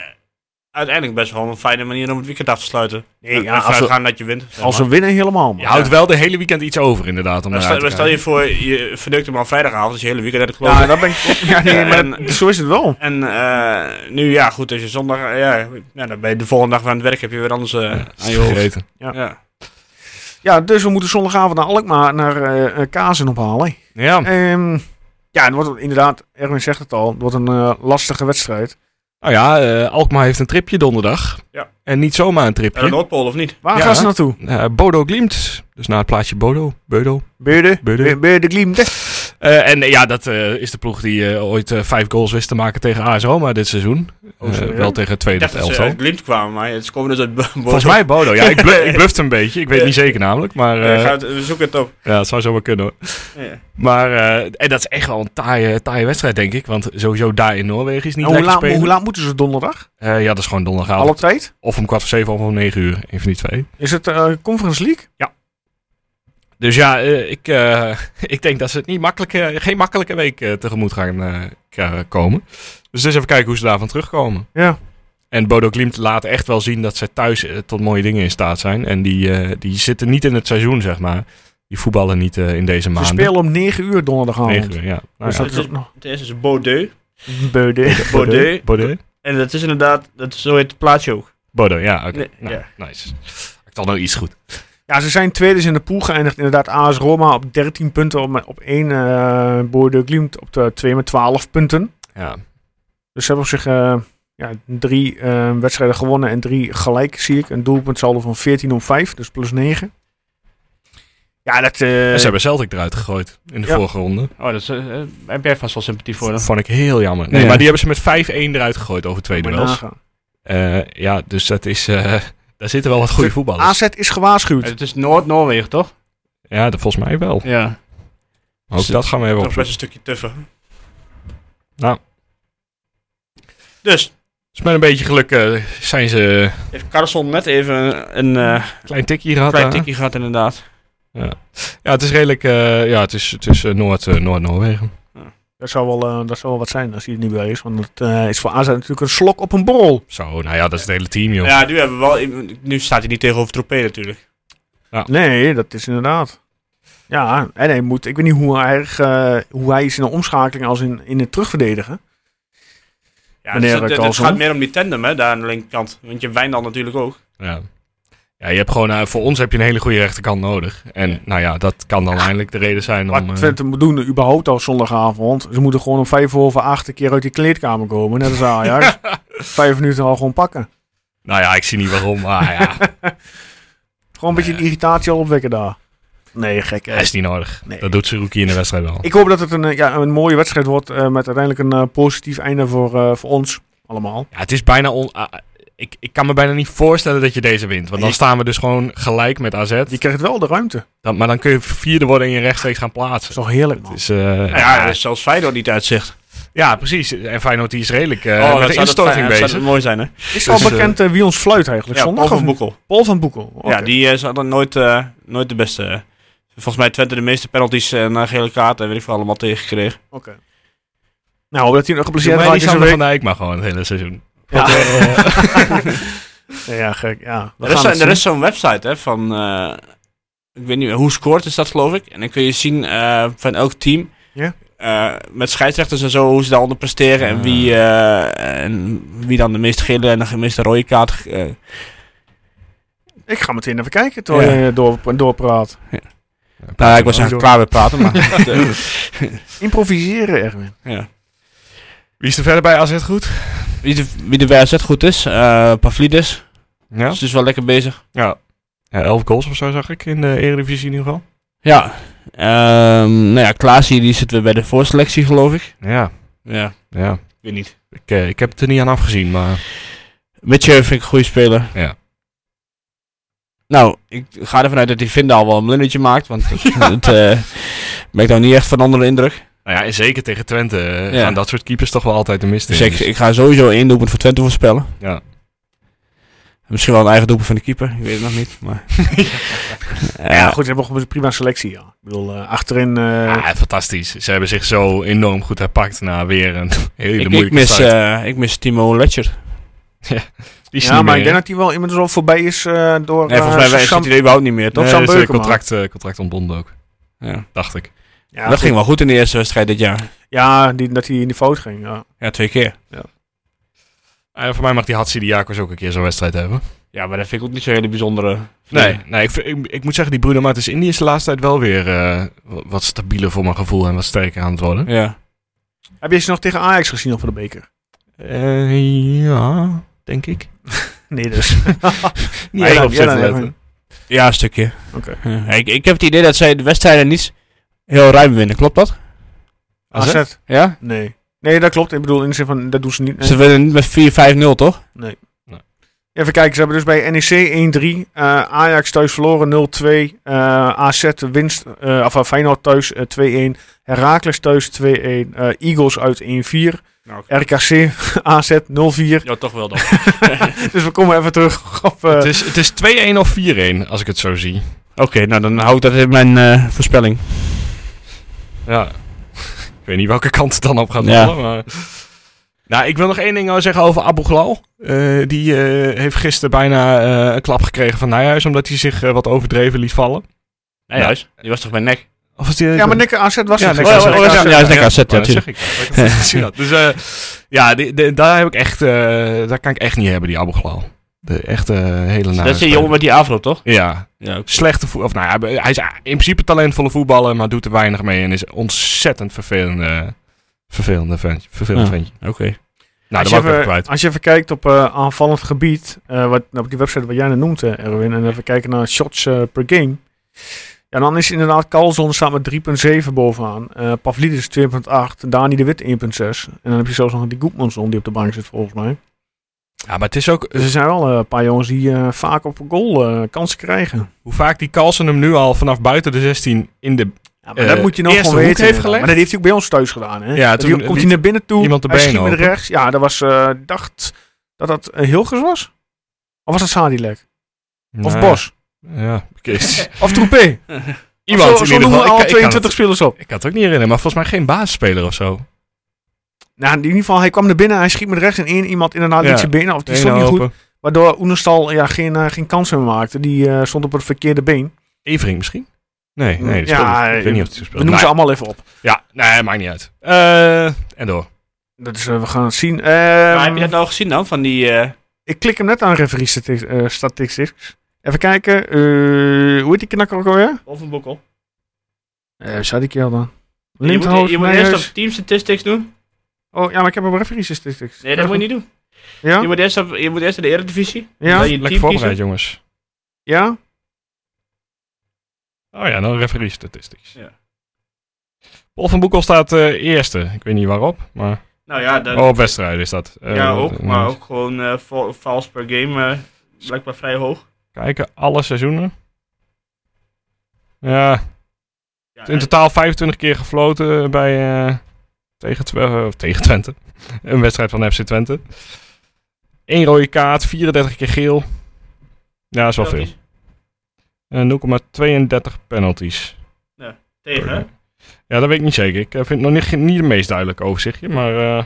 S3: uiteindelijk best wel een fijne manier om het weekend af te sluiten.
S1: Nee, ja,
S3: en
S1: als, we,
S3: gaan dat je wint. zeg
S1: als
S3: maar.
S1: we winnen helemaal.
S2: je
S1: man.
S2: houdt wel de hele weekend iets over inderdaad. Om
S3: Maar
S2: eruit
S3: stel, maar
S2: te
S3: stel
S2: krijgen.
S3: je voor, je verdukt hem al vrijdagavond, dus je hele weekend uit de kloof.
S1: Ja, dat [laughs] ben ik. Ja, nee, maar dat-
S3: En-
S1: zo is het wel.
S3: En eh, nu, ja, goed, als je zondag, eh, ja, nou, dan ben je de volgende dag weer aan het werk, heb je weer anders eh, aan je hoofd.
S2: Gegeten.
S3: Ja.
S1: Ja, dus we moeten zondagavond naar Alkmaar naar eh, eh, Kazen [laughs] ophalen.
S2: Ja,
S1: Ehm, ja, het wordt inderdaad, Erwin zegt het al, het wordt een eh, lastige wedstrijd.
S2: nou ja, eh, Alkmaar heeft een tripje donderdag.
S3: Ja.
S2: En niet zomaar een tripje.
S3: Naar de Noordpool of niet?
S1: Waar
S2: Ja.
S1: gaan ze naartoe?
S2: Eh, Bodo Glimt. Dus naar het plaatje Bodo. Bodo.
S1: Beurde,
S2: Beurde.
S1: Be- Beurde Glimde.
S2: Eh, en eh, ja, dat eh, is de ploeg die eh, ooit eh, vijf goals wist te maken tegen AS Roma dit seizoen.
S1: Oh,
S2: Eh,
S1: serieus?
S2: wel tegen het
S3: Ik
S2: tweede
S3: dacht dat eh, ze
S2: elftal.
S3: uit Glimt kwamen, maar het komen dus uit Bo-
S2: Volgens mij Bodo. Ja, ik, blu
S3: [laughs]
S2: ik blufte een beetje. Ik weet niet zeker namelijk. Maar
S3: Ja,
S2: eh,
S3: ga het- we zoeken het op.
S2: ja, het zou zomaar kunnen hoor.
S3: Ja.
S2: Maar eh, en dat is echt wel een taaie, taaie wedstrijd, denk ik. Want sowieso daar in Noorwegen is niet
S1: En hoe,
S2: lekker
S1: laat,
S2: spelen.
S1: hoe laat moeten ze donderdag?
S2: Eh, ja, dat is gewoon donderdagavond.
S1: Alle tijd?
S2: Of om kwart voor zeven of om negen uur. Een van die twee.
S1: Is het eh, Conference League?
S2: Dus ja, eh, ik, eh, [laughs] ik denk dat ze het niet makkelijk, eh, geen makkelijke week eh, tegemoet gaan eh, k- komen. Dus eens even kijken hoe ze daarvan terugkomen.
S1: Ja.
S2: En Bodo Klimt laat echt wel zien dat zij thuis eh, tot mooie dingen in staat zijn. En die, eh, die zitten niet in het seizoen, zeg maar. Die voetballen niet eh, in deze
S1: Ze
S2: maanden.
S1: spelen om 9 uur donderdagavond.
S2: Negen uur, ja. Nou
S1: Dus
S2: ja.
S1: dat is ook nog
S7: Het eerste is Bordeaux.
S1: beude.
S7: Bordeaux.
S2: Bodo?
S7: En dat is inderdaad, dat is, zo heet het plaatsje ook.
S2: Bodo, ja. oké.
S7: Nee,
S2: nou,
S7: ja.
S2: Nice. Ik had nou iets goed.
S1: [laughs] Ja, ze zijn tweede in de pool geëindigd. Inderdaad, AS Roma op 13 punten. Op, op 1 eh Bodo Glimt op de 2 met 12 punten.
S2: Ja.
S1: Dus ze hebben op zich eh, ja, drie eh, wedstrijden gewonnen en drie gelijk, zie ik. Een doelpunt saldo van 14 om 5, dus plus 9. Ja, dat... eh,
S2: En ze hebben Celtic eruit gegooid in de
S1: Ja.
S2: vorige ronde.
S7: Oh, dat is, eh, eh, heb jij vast wel sympathie voor. hè?
S2: vond ik heel jammer. Nee,
S7: Ja.
S2: maar die hebben ze met 5-1 eruit gegooid over twee
S1: moet je
S2: duels.
S1: nagaan.
S2: Eh, ja, dus dat is... eh, [laughs] daar zitten wel wat goede voetballers.
S1: AZ is gewaarschuwd.
S7: Eh, Het is Noord-Noorwegen, toch?
S2: Ja, dat volgens mij wel.
S7: Ja.
S2: Ook dat gaan we even
S3: Nog
S2: opzoeken.
S3: best een stukje tuffer.
S2: Nou.
S3: Dus,
S2: Dus met een beetje geluk eh, zijn ze
S7: Heeft Carlson net even een eh
S2: een klein tikje gehad.
S7: klein
S1: eh?
S2: daar.
S7: tikje gehad, inderdaad.
S2: Ja, het is redelijk... eh, ja, het is, het is eh, Noord, eh, Noord-Noorwegen.
S1: Dat zou, wel, eh, dat zou wel wat zijn als hij het niet bij is. Want het eh, is voor AZ natuurlijk een slok op een borrel.
S2: Zo, nou ja, dat is het hele team, joh.
S3: ja, nu, hebben we wel, nu staat hij niet tegenover Tropé natuurlijk.
S1: Nee, dat is inderdaad. Ja, en hij moet... Ik weet niet hoe hij, eh, hoe hij is in de omschakeling als in, in het terugverdedigen.
S3: Ja,
S1: Meneer
S3: dus het, het- het
S1: Carlson.
S3: gaat meer om die tandem, hè, daar aan de linkerkant. Want je Wijndal natuurlijk ook.
S2: Ja. Ja, je hebt gewoon, eh, voor ons heb je een hele goede rechterkant nodig. En nou ja, dat kan dan eindelijk de reden zijn om...
S1: Wat
S2: eh,
S1: Twente moet doen überhaupt al zondagavond. Ze moeten gewoon om vijf over acht een keer uit die kleedkamer komen. Net als
S2: [laughs]
S1: Ajax. vijf minuten al gewoon pakken.
S2: nou ja, ik zie niet waarom, maar [laughs] ja,
S1: Gewoon een beetje de irritatie al opwekken daar. Nee, gek. hè.
S2: dat is niet nodig.
S1: Nee.
S2: Dat doet Seruki in de wedstrijd wel.
S1: Ik hoop dat het een, eh, ja, een mooie wedstrijd wordt. eh, met uiteindelijk een eh, positief einde voor, eh, voor ons allemaal.
S2: Ja, het is bijna... On, ah, ah, ik, ik kan me bijna niet voorstellen dat je deze wint. Want dan
S1: Je-
S2: staan we dus gewoon gelijk met AZ.
S1: Je krijgt wel de ruimte. Dat
S2: Dan, maar dan kun je vierde worden en je rechtstreeks gaan plaatsen.
S1: is toch heerlijk, man.
S2: Dus, eh,
S3: Ja, ja, dus zelfs Feyenoord niet uitzicht. Oh,
S2: Ja, precies. En Feyenoord die is redelijk eh,
S3: dat
S2: met de
S3: zou dat fijn-
S2: instorting
S3: dat zou
S2: bezig.
S3: dat mooi zijn, hè?
S1: Is al
S2: dus, eh,
S1: bekend eh, wie ons fluit eigenlijk?
S3: Ja,
S1: Zondag
S3: Paul van
S1: of niet?
S3: Boekel.
S1: Paul van Boekel.
S3: Ja, die eh, zat dan nooit, eh, nooit de beste. eh. Volgens mij Twente de meeste penalties en eh, gele kaarten, weet ik veel, allemaal tegengekregen.
S1: Nou, hoop dat hij nog
S2: Doe
S1: geblesseerd
S2: mij die
S1: raakt. is een
S2: Sander van
S1: week.
S2: Dijk maar gewoon het hele seizoen.
S1: Ja.
S3: [laughs]
S1: ja, [laughs] gek. Ja. We
S3: Er is,
S1: gaan
S3: zo-
S1: het
S3: er
S1: zien.
S3: is zo'n website hè, van, eh, ik weet niet hoe scoort is dat geloof ik. En dan kun je zien eh, van elk team,
S1: Ja.
S3: eh, met scheidsrechters en zo, hoe ze daaronder presteren. En,
S2: Ah.
S3: wie, eh, en wie dan de meeste gele en de meeste rode kaart. eh,
S1: Ik ga meteen even kijken terwijl
S3: Ja.
S1: je eh, door, doorpraat.
S3: nou,
S1: door.
S3: ik was eigenlijk klaar met praten, maar... eh,
S1: Improviseren, Erwin.
S3: ja.
S2: Wie is er verder bij AZ goed?
S3: Wie de, wie de WSZ goed is, eh Pavlidis,
S2: Ja.
S3: is dus wel lekker bezig.
S2: Ja. ja. Elf goals of zo zag ik in de Eredivisie in ieder geval.
S3: Ja. Ehm nou ja, Klaas hier, die zit weer bij de voorselectie, geloof ik.
S2: Ja.
S3: Ja,
S2: Ja.
S3: weet niet.
S2: Ik, eh, ik heb het er niet aan afgezien, maar...
S3: Mitchell vind ik een goede speler.
S2: Ja.
S3: Nou, ik ga ervan uit dat die Vindaal wel een blundertje maakt, want [laughs] dat, dat, eh, ben ik nou niet echt van andere indruk.
S2: Nou ja, en zeker tegen Twente eh,
S3: Ja.
S2: gaan dat soort keepers toch wel altijd de mist in.
S3: Dus ik, ik ga sowieso één doelpunt voor Twente voorspellen.
S2: Ja.
S3: Misschien wel een eigen doelpunt van de keeper, ik weet het nog niet. [laughs] Maar... ja,
S1: Ja, goed, ze hebben gewoon een prima selectie. Ja. Ik bedoel, eh, achterin. eh,
S2: Ah, fantastisch. Ze hebben zich zo enorm goed herpakt na weer een [laughs] hele
S3: ik, ik
S2: moeilijke
S3: mis,
S2: start.
S3: eh, ik mis Timo Letcher.
S2: Die is
S1: ja,
S2: niet
S1: maar ik
S2: meer,
S1: denk
S2: hè?
S1: dat hij wel iemand al voorbij is eh, door.
S3: Nee, volgens mij
S1: eh,
S3: wij-
S1: Sam-
S3: zit hij er überhaupt niet meer, dus toch?
S1: dat
S2: Nee,
S1: zou
S2: is, eh,
S1: Beuken
S2: contract, eh, contract ontbonden ook,
S3: Ja.
S2: dacht ik.
S1: ja,
S3: dat
S1: goed.
S3: ging wel goed in de eerste wedstrijd dit jaar.
S1: Ja, die, dat hij in de fout ging. Ja.
S3: Ja, twee keer.
S2: En Ah, voor mij mag die Hatsi Diakos ook een keer zo'n wedstrijd hebben.
S3: Ja, maar dat vind ik ook niet zo'n hele bijzondere.
S2: Nee, nee ik, vind- ik, ik moet zeggen, die Bruno Martens Indië is de laatste tijd wel weer eh, wa- wat stabieler voor mijn gevoel en wat sterker aan het worden.
S3: Ja.
S1: Heb je ze nog tegen Ajax gezien nog voor de beker?
S3: Eh,
S2: ja, denk ik.
S1: Nee, dus. [laughs]
S2: Niet
S1: Ah,
S2: erg
S1: ja,
S2: op
S1: ja,
S2: zitten
S1: dan
S2: letten.
S1: even.
S3: Ja, een stukje.
S1: Oké.
S3: Ja, ik, ik heb het idee dat zij de wedstrijden niet heel ruim winnen, klopt dat?
S2: AZ?
S3: [laughs]
S1: AZ?
S3: Ja?
S1: Nee. Nee, dat klopt. Ik bedoel, in de zin van, dat doen ze niet. nee.
S3: Ze winnen niet met 4-5-0, toch?
S1: Even kijken, ze hebben dus bij NEC 1-3, eh, Ajax thuis verloren 0-2, eh, AZ winst, eh of eh, Feyenoord thuis eh, 2-1, Heracles thuis 2-1, eh, Eagles uit 1-4,
S3: Nou,
S1: [laughs] RKC AZ 0-4.
S3: Ja, toch wel dan.
S1: [laughs] Dus we komen even terug op... eh,
S2: Het is, het is 2-1 of 4-1, als ik het zo zie.
S3: Oké, nou dan hou ik dat in mijn eh, voorspelling.
S2: Ja. [laughs] ik weet niet welke kant het dan op gaat
S3: Ja.
S2: vallen, maar... Nou, ik wil nog één ding nou zeggen over Abu Ghlal. Eh, die eh, heeft gisteren bijna eh, een klap gekregen van Nijhuis, omdat hij zich eh, wat overdreven liet vallen.
S8: Nee, juist. Die was toch bij nek?
S2: Of was die,
S1: Ja, maar Nick AZ was
S2: Ja,
S1: het.
S2: Nick
S1: Ja,
S2: AZ.
S1: ja,
S2: Oh,
S1: ja, ja,
S8: Ja, is nek AZ, ja,
S2: dat zeg
S8: tuurlijk.
S2: ik. Ik had het gezien had. Dus eh, ja, die, die- daar heb ik echt, eh, daar kan ik echt niet hebben, die Abu Ghlal. De echte eh, hele nare
S8: Nou, Dat is die
S2: speler.
S8: jongen met die afro, toch?
S2: Ja,
S8: Ja, ook.
S2: slechte voet. Of nou ja, hij is in principe talentvolle voetballer, maar doet er weinig mee en is een ontzettend vervelende, vervelende vent, vervelend
S8: Ja.
S2: ventje.
S8: Oké.
S2: Nou,
S1: als,
S2: daar
S1: je
S2: was ik even
S1: even,
S2: kwijt.
S1: als je even kijkt op eh, aanvallend gebied, eh, wat, op die website wat jij net noemt, eh, Erwin, en even kijken naar shots eh, per game. Ja, dan is inderdaad Calzon staat met 3,7 bovenaan. Eh, Pavlidis 2,8. Dani de Wit 1,6. En dan heb je zelfs nog die Goedmanson die op de bank zit volgens mij.
S2: Ja, maar het is ook,
S1: Dus er zijn wel eh, een paar jongens die eh, vaak op goal eh, kansen krijgen.
S2: hoe vaak die Carlsen hem nu al vanaf buiten de 16 in de
S1: Ja, maar
S2: Eh,
S1: dat moet je nog
S2: eerste
S1: gewoon
S2: hoek
S1: weten.
S2: heeft
S1: inderdaad.
S2: gelegd.
S1: Maar dat heeft hij ook bij ons thuis gedaan. Hè?
S2: Ja,
S1: Dat
S2: toen
S1: hij- komt hij
S2: liet
S1: naar binnen toe.
S2: iemand de
S1: hij
S2: benen
S1: schiet met
S2: open.
S1: rechts. Ja, dat was, eh, dacht dat dat eh, Hilgers was? Of was dat Sadilek? Of
S2: Nou,
S1: Bos?
S2: [laughs] Ja, Kees.
S1: Of [laughs] Troepé?
S2: Iemand
S1: Zo,
S2: in
S1: zo
S2: ieder
S1: noemen we al
S2: geval. Ik- ik kan het-
S1: 22 spelers op.
S2: Ik kan het ook niet herinneren, maar volgens mij geen basisspeler of zo.
S1: Nou, in ieder geval, hij kwam naar binnen. Hij schiet met rechts. En één iemand inderdaad
S2: Ja.
S1: liet zijn benen. Of die
S2: Eén
S1: stond niet goed.
S2: open.
S1: Waardoor Oenerstal ja, geen, eh, geen kans meer maakte. Die eh, stond op het verkeerde been.
S2: Evering misschien? Nee, nee. die
S1: Ja,
S2: speelde niet. ik
S1: eh,
S2: weet niet of die
S1: We
S2: speelde.
S1: noemen ze allemaal even op.
S2: Ja, nee, maakt niet uit. Eh, en door.
S1: Dat is, eh, we gaan het zien. Eh,
S8: maar heb je dat nou gezien dan, van die... eh,
S1: Ik klik hem net aan referee stati- eh, statistics. Even kijken. eh, hoe heet die knakker ook alweer?
S8: Of een bokkel?
S1: Eh, Wie zat ik hier dan?
S8: Je moet,
S1: Lindhout,
S8: je moet eerst
S1: Nijhuis.
S8: op Team Statistics doen.
S1: Oh ja, maar ik heb hem referee statistics.
S8: Nee, dat moet je niet doen.
S1: Ja?
S8: Je moet eerst, op, je moet eerst in de Eredivisie.
S1: Ja?
S8: Dan je
S2: Lekker
S8: team
S2: voorbereid,
S8: kiezen.
S2: jongens.
S1: Ja?
S2: Oh ja, dan referee statistics.
S8: Ja.
S2: Paul van Boekel staat eh, eerste. Ik weet niet waarop, maar...
S8: Nou ja, dat,
S2: Oh, op wedstrijden is dat. Eh,
S8: ja ook.
S2: eh,
S8: Maar ook gewoon eh val- vals per game. eh blijkbaar vrij hoog.
S2: Kijken, alle seizoenen. Ja,
S8: Ja,
S2: in totaal 25 keer gefloten bij... eh, tegen, Twe- eh, of tegen Twente. [laughs] Een wedstrijd van FC Twente. Eén rode kaart, 34 keer geel. Ja, dat is wel veel.
S8: penalties
S2: Eh 0,32 penalties.
S8: Tegen, hè?
S2: Ja, dat weet ik niet zeker. Ik eh, vind het nog niet, niet het meest duidelijk overzichtje, maar... eh,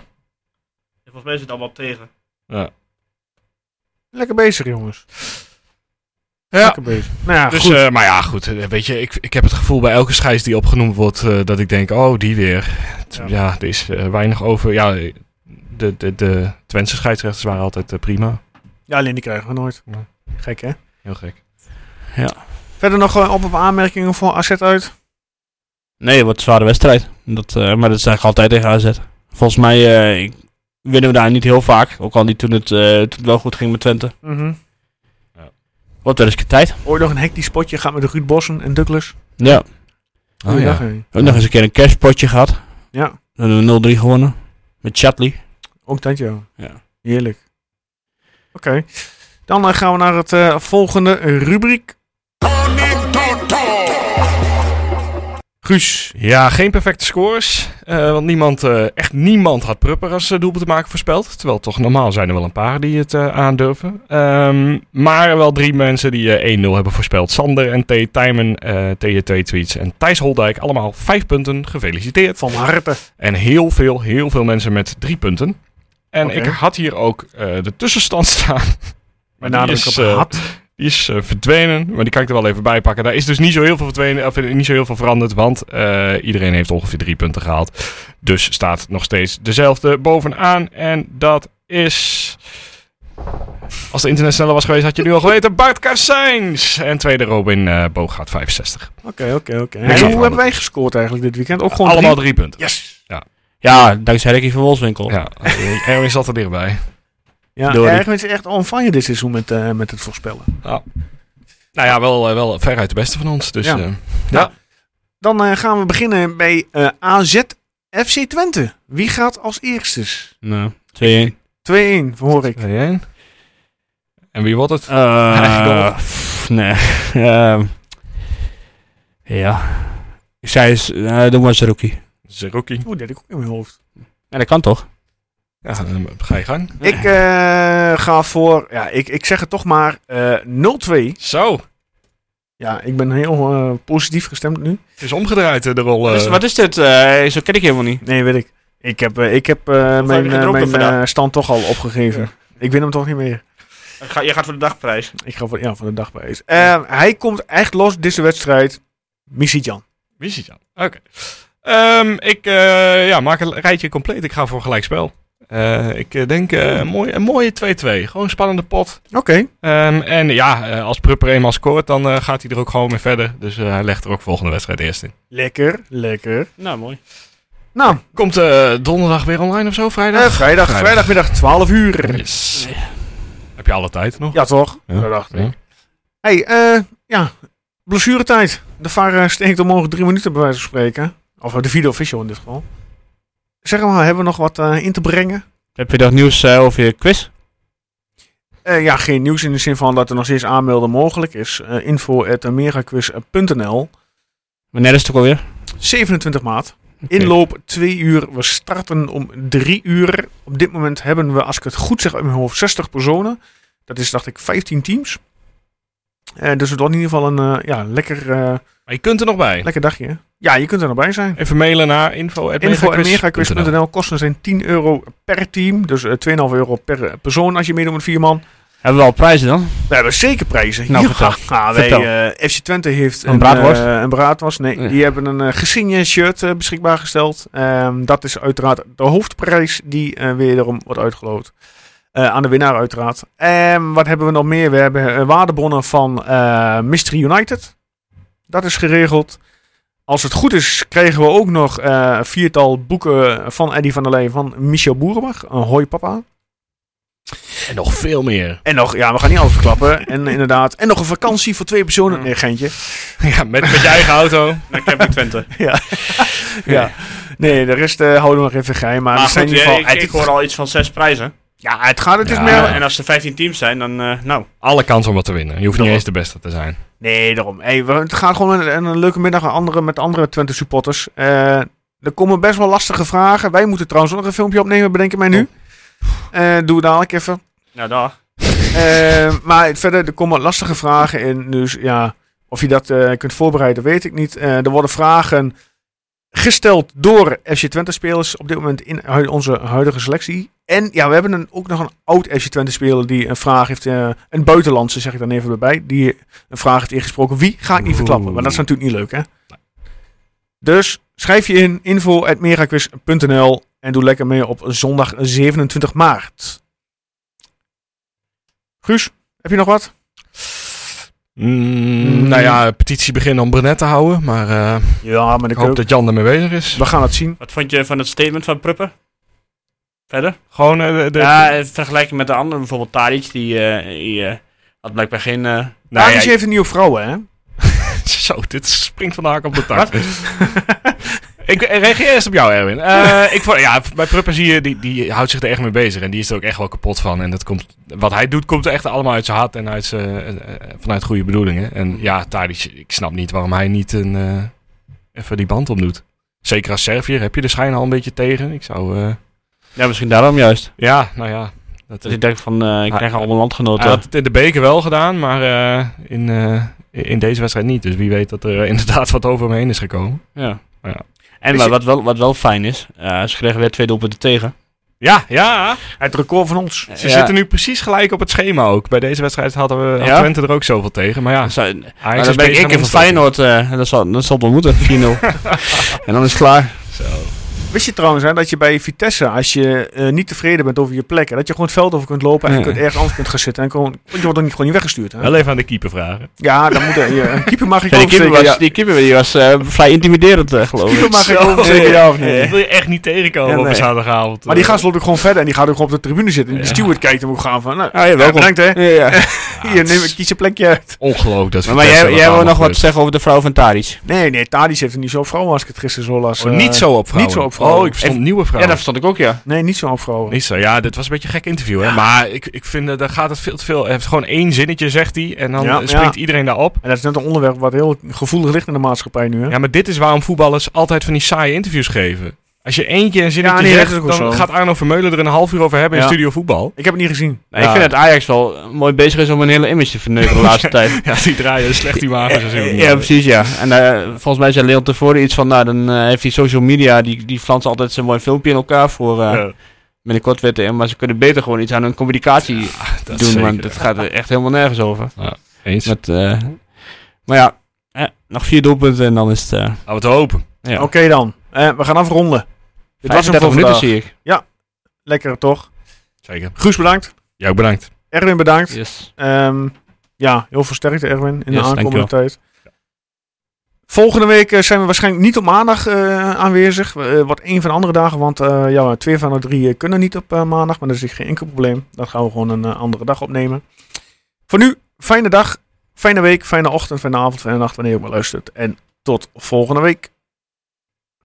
S8: Volgens mij is het allemaal tegen.
S1: Lekker bezig, jongens.
S2: ja,
S1: Lekker bezig. Nou ja,
S2: dus,
S1: goed.
S2: eh, maar ja, goed. eh, Weet je, ik, ik heb het gevoel bij elke scheids die opgenoemd wordt eh, dat ik denk, oh, die weer. Het-
S1: Ja.
S2: Ja, er is eh, weinig over. Ja, de, de, de Twentse scheidsrechters waren altijd eh, prima.
S1: ja, alleen die krijgen we nooit.
S2: Nee.
S1: Gek, hè?
S2: Heel gek.
S1: Verder nog eh, op of aanmerkingen voor AZ uit?
S3: Nee, wat een zware wedstrijd. Dat, eh, maar dat is eigenlijk altijd tegen AZ. Volgens mij eh, ik- winnen we daar niet heel vaak. Ook al niet toen het, eh, toen het wel goed ging met Twente.
S1: Mhm.
S3: Wat wel eens een keer tijd.
S1: Ooit nog een hectisch spotje gaat met de Ruud Bossen en Douglas.
S3: Ja.
S1: Goeie
S2: Oh, ja.
S1: dag, hè.
S3: Ook nog eens een keer een cashpotje gehad.
S1: Ja.
S3: Dan hebben we 0-3 gewonnen. Met Chatley.
S1: Ook dat, ja.
S3: Ja.
S1: Heerlijk. Oké. Dan eh, gaan we naar het eh, volgende rubriek. Guus.
S2: Ja, geen perfecte scores. eh, want niemand, eh, echt niemand had Prupper als eh, doelpunt te maken voorspeld. Terwijl toch normaal zijn er wel een paar die het eh, aandurven. Ehm, maar wel drie mensen die eh, 1-0 hebben voorspeld. Sander en T. Tijmen, eh TJ2 Tweets en Thijs Holdijk. Allemaal vijf punten. Gefeliciteerd.
S1: Van harte.
S2: En heel veel, heel veel mensen met drie punten. En
S1: Oké.
S2: ik had hier ook eh, de tussenstand [laughs] staan.
S1: Met
S2: die
S1: nadruk
S2: is,
S1: op
S2: eh,
S1: had.
S2: Die is eh, verdwenen, maar die kan ik er wel even bij pakken. Daar is dus niet zo heel veel, verdwenen, of, eh, niet zo heel veel veranderd, want eh, iedereen heeft ongeveer drie punten gehaald. Dus staat nog steeds dezelfde bovenaan. En dat is... Als de internet sneller was geweest, had je nu al geweten. Bart Karsijns! En tweede Robin eh Boogaard, 65.
S1: Oké, oké, oké.
S2: Niks
S1: En Hoe
S2: aan
S1: hebben wij gescoord eigenlijk dit weekend? Ook gewoon
S2: Allemaal
S1: drie?
S2: drie punten.
S1: Yes.
S3: Ja, dankzij Ricky van Wolfswinkel.
S2: Ja, Erwin zat er dichtbij.
S1: Ja,
S3: Door die-
S1: Erwin is echt on fire dit seizoen met, eh, met het voorspellen.
S2: Nou ja, wel, eh, wel veruit de beste van ons. Dus
S1: Ja.
S2: eh,
S1: Dan eh, gaan we beginnen bij eh, AZ FC Twente. Wie gaat als eerstes?
S3: Nou, 2-1.
S8: [laughs]
S1: 2-1, hoor ik.
S2: Wil jij een? En wie wordt het?
S3: Eh,
S2: Eigenlijk
S3: pff, nee. [laughs] Ehm, ja. Ik zei eens, eh, doe maar eens rookie.
S2: Zerouki.
S1: Oeh, dat heb ik ook in mijn hoofd.
S3: Ja, dat kan toch?
S2: Ja, dan ga je gang.
S1: Ik eh, ga voor, ja, ik, ik zeg het toch maar, eh, 0-2.
S2: Zo,
S1: Ja, ik ben heel eh, positief gestemd nu.
S2: het is omgedraaid eh, de rol. eh.
S8: Dus wat is dit? Eh, zo ken ik helemaal niet.
S1: Nee, weet ik. Ik heb, eh, ik heb eh, mijn,
S9: je geen
S1: eh,
S9: dronken
S1: mijn
S9: vandaag?
S1: eh, stand toch al opgegeven. Ik win hem toch niet meer.
S9: Ga, je gaat voor de dagprijs.
S1: Ik ga van, ja, van de dag bij eens. Eh, hij komt echt los deze wedstrijd. Missie Jan.
S2: Wie is het dan? Oké. Ehm, ik eh, ja, maak een rijtje compleet. Ik ga voor gelijkspel. Eh, ik eh, denk eh, een mooie- een mooie 2-2. Gewoon een spannende pot.
S1: Oké.
S2: Ehm, en ja, eh, als Prupper eenmaal scoort, dan eh, gaat hij er ook gewoon mee verder. Dus eh, hij legt er ook volgende wedstrijd eerst in.
S1: Lekker, lekker.
S9: Nou, mooi.
S1: Nou,
S2: Komt eh, donderdag weer online of zo? Vrijdag?
S1: eh, vrijdag, vrijdagmiddag 12 uur.
S2: Yes. Heb je alle tijd nog?
S1: Ja, toch?
S2: Ja.
S1: Dat dacht ik.
S2: Ja.
S1: hey, eh, ja. Blessuretijd. De VAR eh, steekt omhoog drie minuten bij wijze van spreken. Of eh, de video official in dit geval. Zeg maar, hebben we nog wat eh, in te brengen?
S8: Heb je nog nieuws eh, over je quiz?
S1: Eh, ja, geen nieuws in de zin van dat er nog steeds aanmelden mogelijk is. Eh info.americaquiz.nl
S8: Wanneer is het ook alweer?
S1: 27 maart.
S8: Oké.
S1: Inloop 2 uur. We starten om 3 uur. Op dit moment hebben we, als ik het goed zeg, in mijn hoofd 60 personen. Dat is, dacht ik, 15 teams. Eh, dus het wordt in ieder geval een eh, ja, lekker, eh,
S2: Maar je kunt er nog bij.
S1: lekker dagje. hè? Ja, je kunt er nog bij zijn.
S2: Even mailen naar info.
S1: Info.megaquiz.nl kosten zijn 10 euro per team. Dus eh, 2,5 euro per eh, persoon als je meedoet met vier man.
S8: Hebben we al prijzen dan?
S1: We hebben zeker prijzen.
S8: Nou,
S1: Hier
S8: vertel.
S1: gaan wij,
S8: Vertel.
S1: eh, FC Twente heeft
S8: Een braadworst?
S1: eh, een braadworst. Nee,
S8: Ja.
S1: die hebben een eh, gesigneerd shirt eh, beschikbaar gesteld. Ehm, dat is uiteraard de hoofdprijs die eh weer erom wordt uitgeloot. Eh, aan de winnaar uiteraard. En wat hebben we nog meer? We hebben eh, waardebronnen van eh Mystery United. Dat is geregeld. Als het goed is, kregen we ook nog eh, een viertal boeken van Eddy van der Leyen van Michel Boerenbach. Een hoi papa.
S2: En nog veel meer.
S1: En nog, ja, we gaan niet alles verklappen. En [laughs] inderdaad, en nog een vakantie voor twee
S9: Mm.
S1: personen. Nee, geintje.
S2: [laughs] Ja, met, met je eigen auto.
S9: Naar Camping
S8: [laughs]
S9: Twente.
S1: Ja. Nee, de rest eh, houden we nog even geheim. Maar,
S9: maar
S1: we zijn
S9: goed,
S1: in ieder
S9: eh,
S1: geval...
S9: ik,
S1: het,
S9: ik hoor al iets van zes prijzen.
S1: Ja, het gaat. Het is
S2: Ja.
S1: meer...
S9: En als er 15 teams zijn, dan eh, nou.
S2: [laughs] Alle kans om wat te winnen. Je hoeft niet
S9: Daarom.
S2: eens de beste te zijn.
S1: Nee, daarom. Hey, we, het gaat gewoon een, een leuke middag aan andere, met andere Twente supporters. Eh, er komen best wel lastige vragen. Wij moeten trouwens ook nog een filmpje opnemen, bedenken mij nu.
S9: Oh.
S1: Eh doen we dadelijk even.
S9: Nou, daar.
S1: Eh, maar verder, er komen lastige vragen in. Dus ja, of je dat eh, kunt voorbereiden, weet ik niet. Eh, er worden vragen gesteld door FC Twente-spelers op dit moment in hui- onze huidige selectie. En ja, we hebben een, ook nog een oud FC Twente-speler die een vraag heeft, eh, een buitenlandse zeg ik dan even bij, die een vraag heeft ingesproken. Wie ga ik niet verklappen? Maar dat is natuurlijk niet leuk, hè? Dus schrijf je in info.meraquiz.nl en doe lekker mee op zondag 27 maart. Guus, heb je nog wat?
S2: Mm, nou ja, petitie beginnen om Brenet te houden. Maar eh,
S1: Ja, maar
S2: ik hoop dat Jan ermee bezig is.
S1: We gaan het zien.
S9: Wat vond je van het statement van Pruppen? Verder?
S2: Gewoon eh, de, de-
S9: ja, in vergelijking met de anderen. Bijvoorbeeld Tadic, die, eh, die eh, had blijkbaar geen... eh,
S2: Nou
S1: Tadic
S2: ja,
S1: heeft een nieuwe vrouw, hè?
S2: [laughs] Zo, dit springt vandaag op de tak. ik eh, reageer eerst op jou, Erwin. Eh, ik vond, ja, bij Pruppen zie je, die, die houdt zich er echt mee bezig. En die is er ook echt wel kapot van. En dat komt, wat hij doet, komt er echt allemaal uit zijn hart en uit zijn, eh, eh, vanuit goede bedoelingen. En ja, Tadic, ik snap niet waarom hij niet een, eh, even die band omdoet. Zeker als Serviër heb je de schijn al een beetje tegen. Ik zou... eh,
S8: Ja, misschien daarom juist.
S2: ja, nou ja. Dat,
S8: Dus ik denk van, eh, ik
S2: Ah,
S8: krijg allemaal
S2: hij
S8: landgenoten.
S2: had het in de beker wel gedaan, maar eh, in, eh, in deze wedstrijd niet. Dus wie weet dat er eh, [laughs] inderdaad wat over hem heen is gekomen.
S8: ja.
S2: Ja.
S8: En wa- wat wel, wat wel fijn is, eh, ze kregen weer twee doelpunten tegen.
S2: Ja, ja.
S1: Het record van ons.
S2: Ze
S8: Ja.
S2: zitten nu precies gelijk op het schema ook. Bij deze wedstrijd hadden we had
S8: Ja?
S2: Twente er ook zoveel tegen. Maar ja,
S8: Zou-
S2: Ajax
S8: Maar
S2: is
S8: dan ben
S2: bezig
S8: ik
S2: aan
S8: in van
S2: ontstoken.
S8: Feyenoord. eh, en dat, zal, dat zal wel moeten, 4-0.
S9: [laughs]
S8: en dan is het klaar.
S1: Wist je trouwens hè, dat je bij Vitesse, als je eh, niet tevreden bent over je plek, hè, dat je gewoon het veld over kunt lopen en
S8: Ja.
S1: kunt ergens anders kunt gaan zitten. En gewoon, want je wordt dan niet, gewoon niet weggestuurd. Hè?
S2: Wel even aan de keeper vragen.
S1: Ja, dan moet er, je, een keeper
S8: [laughs]
S1: mag ik
S8: Ja, die keeper
S1: oversteken.
S8: was,
S1: ja.
S8: die keeper die was eh, vrij intimiderend, eh, geloof ik.
S1: Keeper mag ik
S8: Zo.
S1: oversteken, ja of
S2: Dat
S1: niet?
S2: wil je echt niet tegenkomen
S1: Ja,
S2: op een
S1: nee.
S2: zaterdagavond. Eh,
S1: Maar die gast loopt ook gewoon verder en die gaat ook gewoon op de tribune zitten. En de steward kijkt hem ook gaan van, nou,
S8: Ah, ja,
S1: ja,
S8: welkom.
S1: bedankt hè.
S8: Ja, ja.
S1: [laughs]
S8: Ah,
S1: Hier, neem, ik kies een plekje uit.
S2: Ongelooflijk dat
S8: Maar, maar jij, jij wil nog wat zeggen over de vrouw van Tadic.
S1: Nee, nee, Tadic heeft er niet zo'n vrouw als ik het gisteren zo
S8: Oh,
S1: las. eh,
S2: niet zo op vrouwen.
S1: Niet zo op vrouwen.
S2: Oh, ik verstond nieuwe
S8: Ja,
S2: vrouwen.
S8: dat verstond ik ook, ja.
S1: Nee, niet zo op vrouwen.
S2: Niet zo. Ja, dit was een beetje een gek interview. Hè? Maar ik, ik vind, eh, daar gaat het veel te veel. Hij heeft gewoon één zinnetje, zegt hij. En dan
S1: Ja,
S2: eh, springt
S1: ja.
S2: iedereen daarop.
S1: En dat is net een onderwerp wat heel gevoelig ligt in de maatschappij nu. Hè?
S2: Ja, maar dit is waarom voetballers altijd van die saaie interviews geven. Als je eentje een zinnetje
S1: Ja, nee, dat is
S2: zegt,
S1: ook wel
S2: dan
S1: zo.
S2: gaat Arno Vermeulen er een half uur over hebben in
S1: Ja.
S2: Studio Voetbal.
S1: Ik heb het niet gezien.
S3: Nou, Ik
S2: Ja.
S3: vind dat Ajax wel mooi bezig is om een hele image te verneuken de
S8: [laughs]
S3: laatste tijd.
S2: Ja, die draaien slecht die wagens. en zo.
S3: Ja, precies, ja. En eh, volgens mij zei Leon tevoren iets van, nou, dan eh, heeft die social media, die, die flansen altijd zo'n mooi filmpje in elkaar voor eh
S2: Ja,
S3: binnenkort weer in, maar ze kunnen beter gewoon iets aan hun communicatie
S2: dat
S3: doen,
S2: zeker.
S3: want het gaat er echt helemaal nergens over. Dus
S2: Eens.
S3: Met, eh, maar ja, eh, nog vier doelpunten en dan is het... eh
S2: Laten we het hopen.
S3: ja.
S1: Oké dan. Eh, we gaan afronden. Dit was hem
S3: 35
S1: voor
S3: minuten
S1: vandaag.
S3: zie ik.
S1: Lekker toch?
S2: Zeker.
S1: Guus bedankt.
S2: Jou bedankt.
S1: Erwin bedankt.
S3: Yes.
S1: Ehm, ja, heel versterkt Erwin in
S3: Yes,
S1: de aankomende tijd. Volgende week eh, zijn we waarschijnlijk niet op maandag eh, aanwezig. Eh, wat een van de andere dagen, want eh, ja, twee van de drie eh, kunnen niet op eh, maandag. Maar dat is echt geen enkel probleem. Dan gaan we gewoon een eh, andere dag opnemen. Voor nu, fijne dag, fijne week, fijne ochtend, fijne avond, fijne nacht, wanneer je ook maar luistert. En tot volgende week.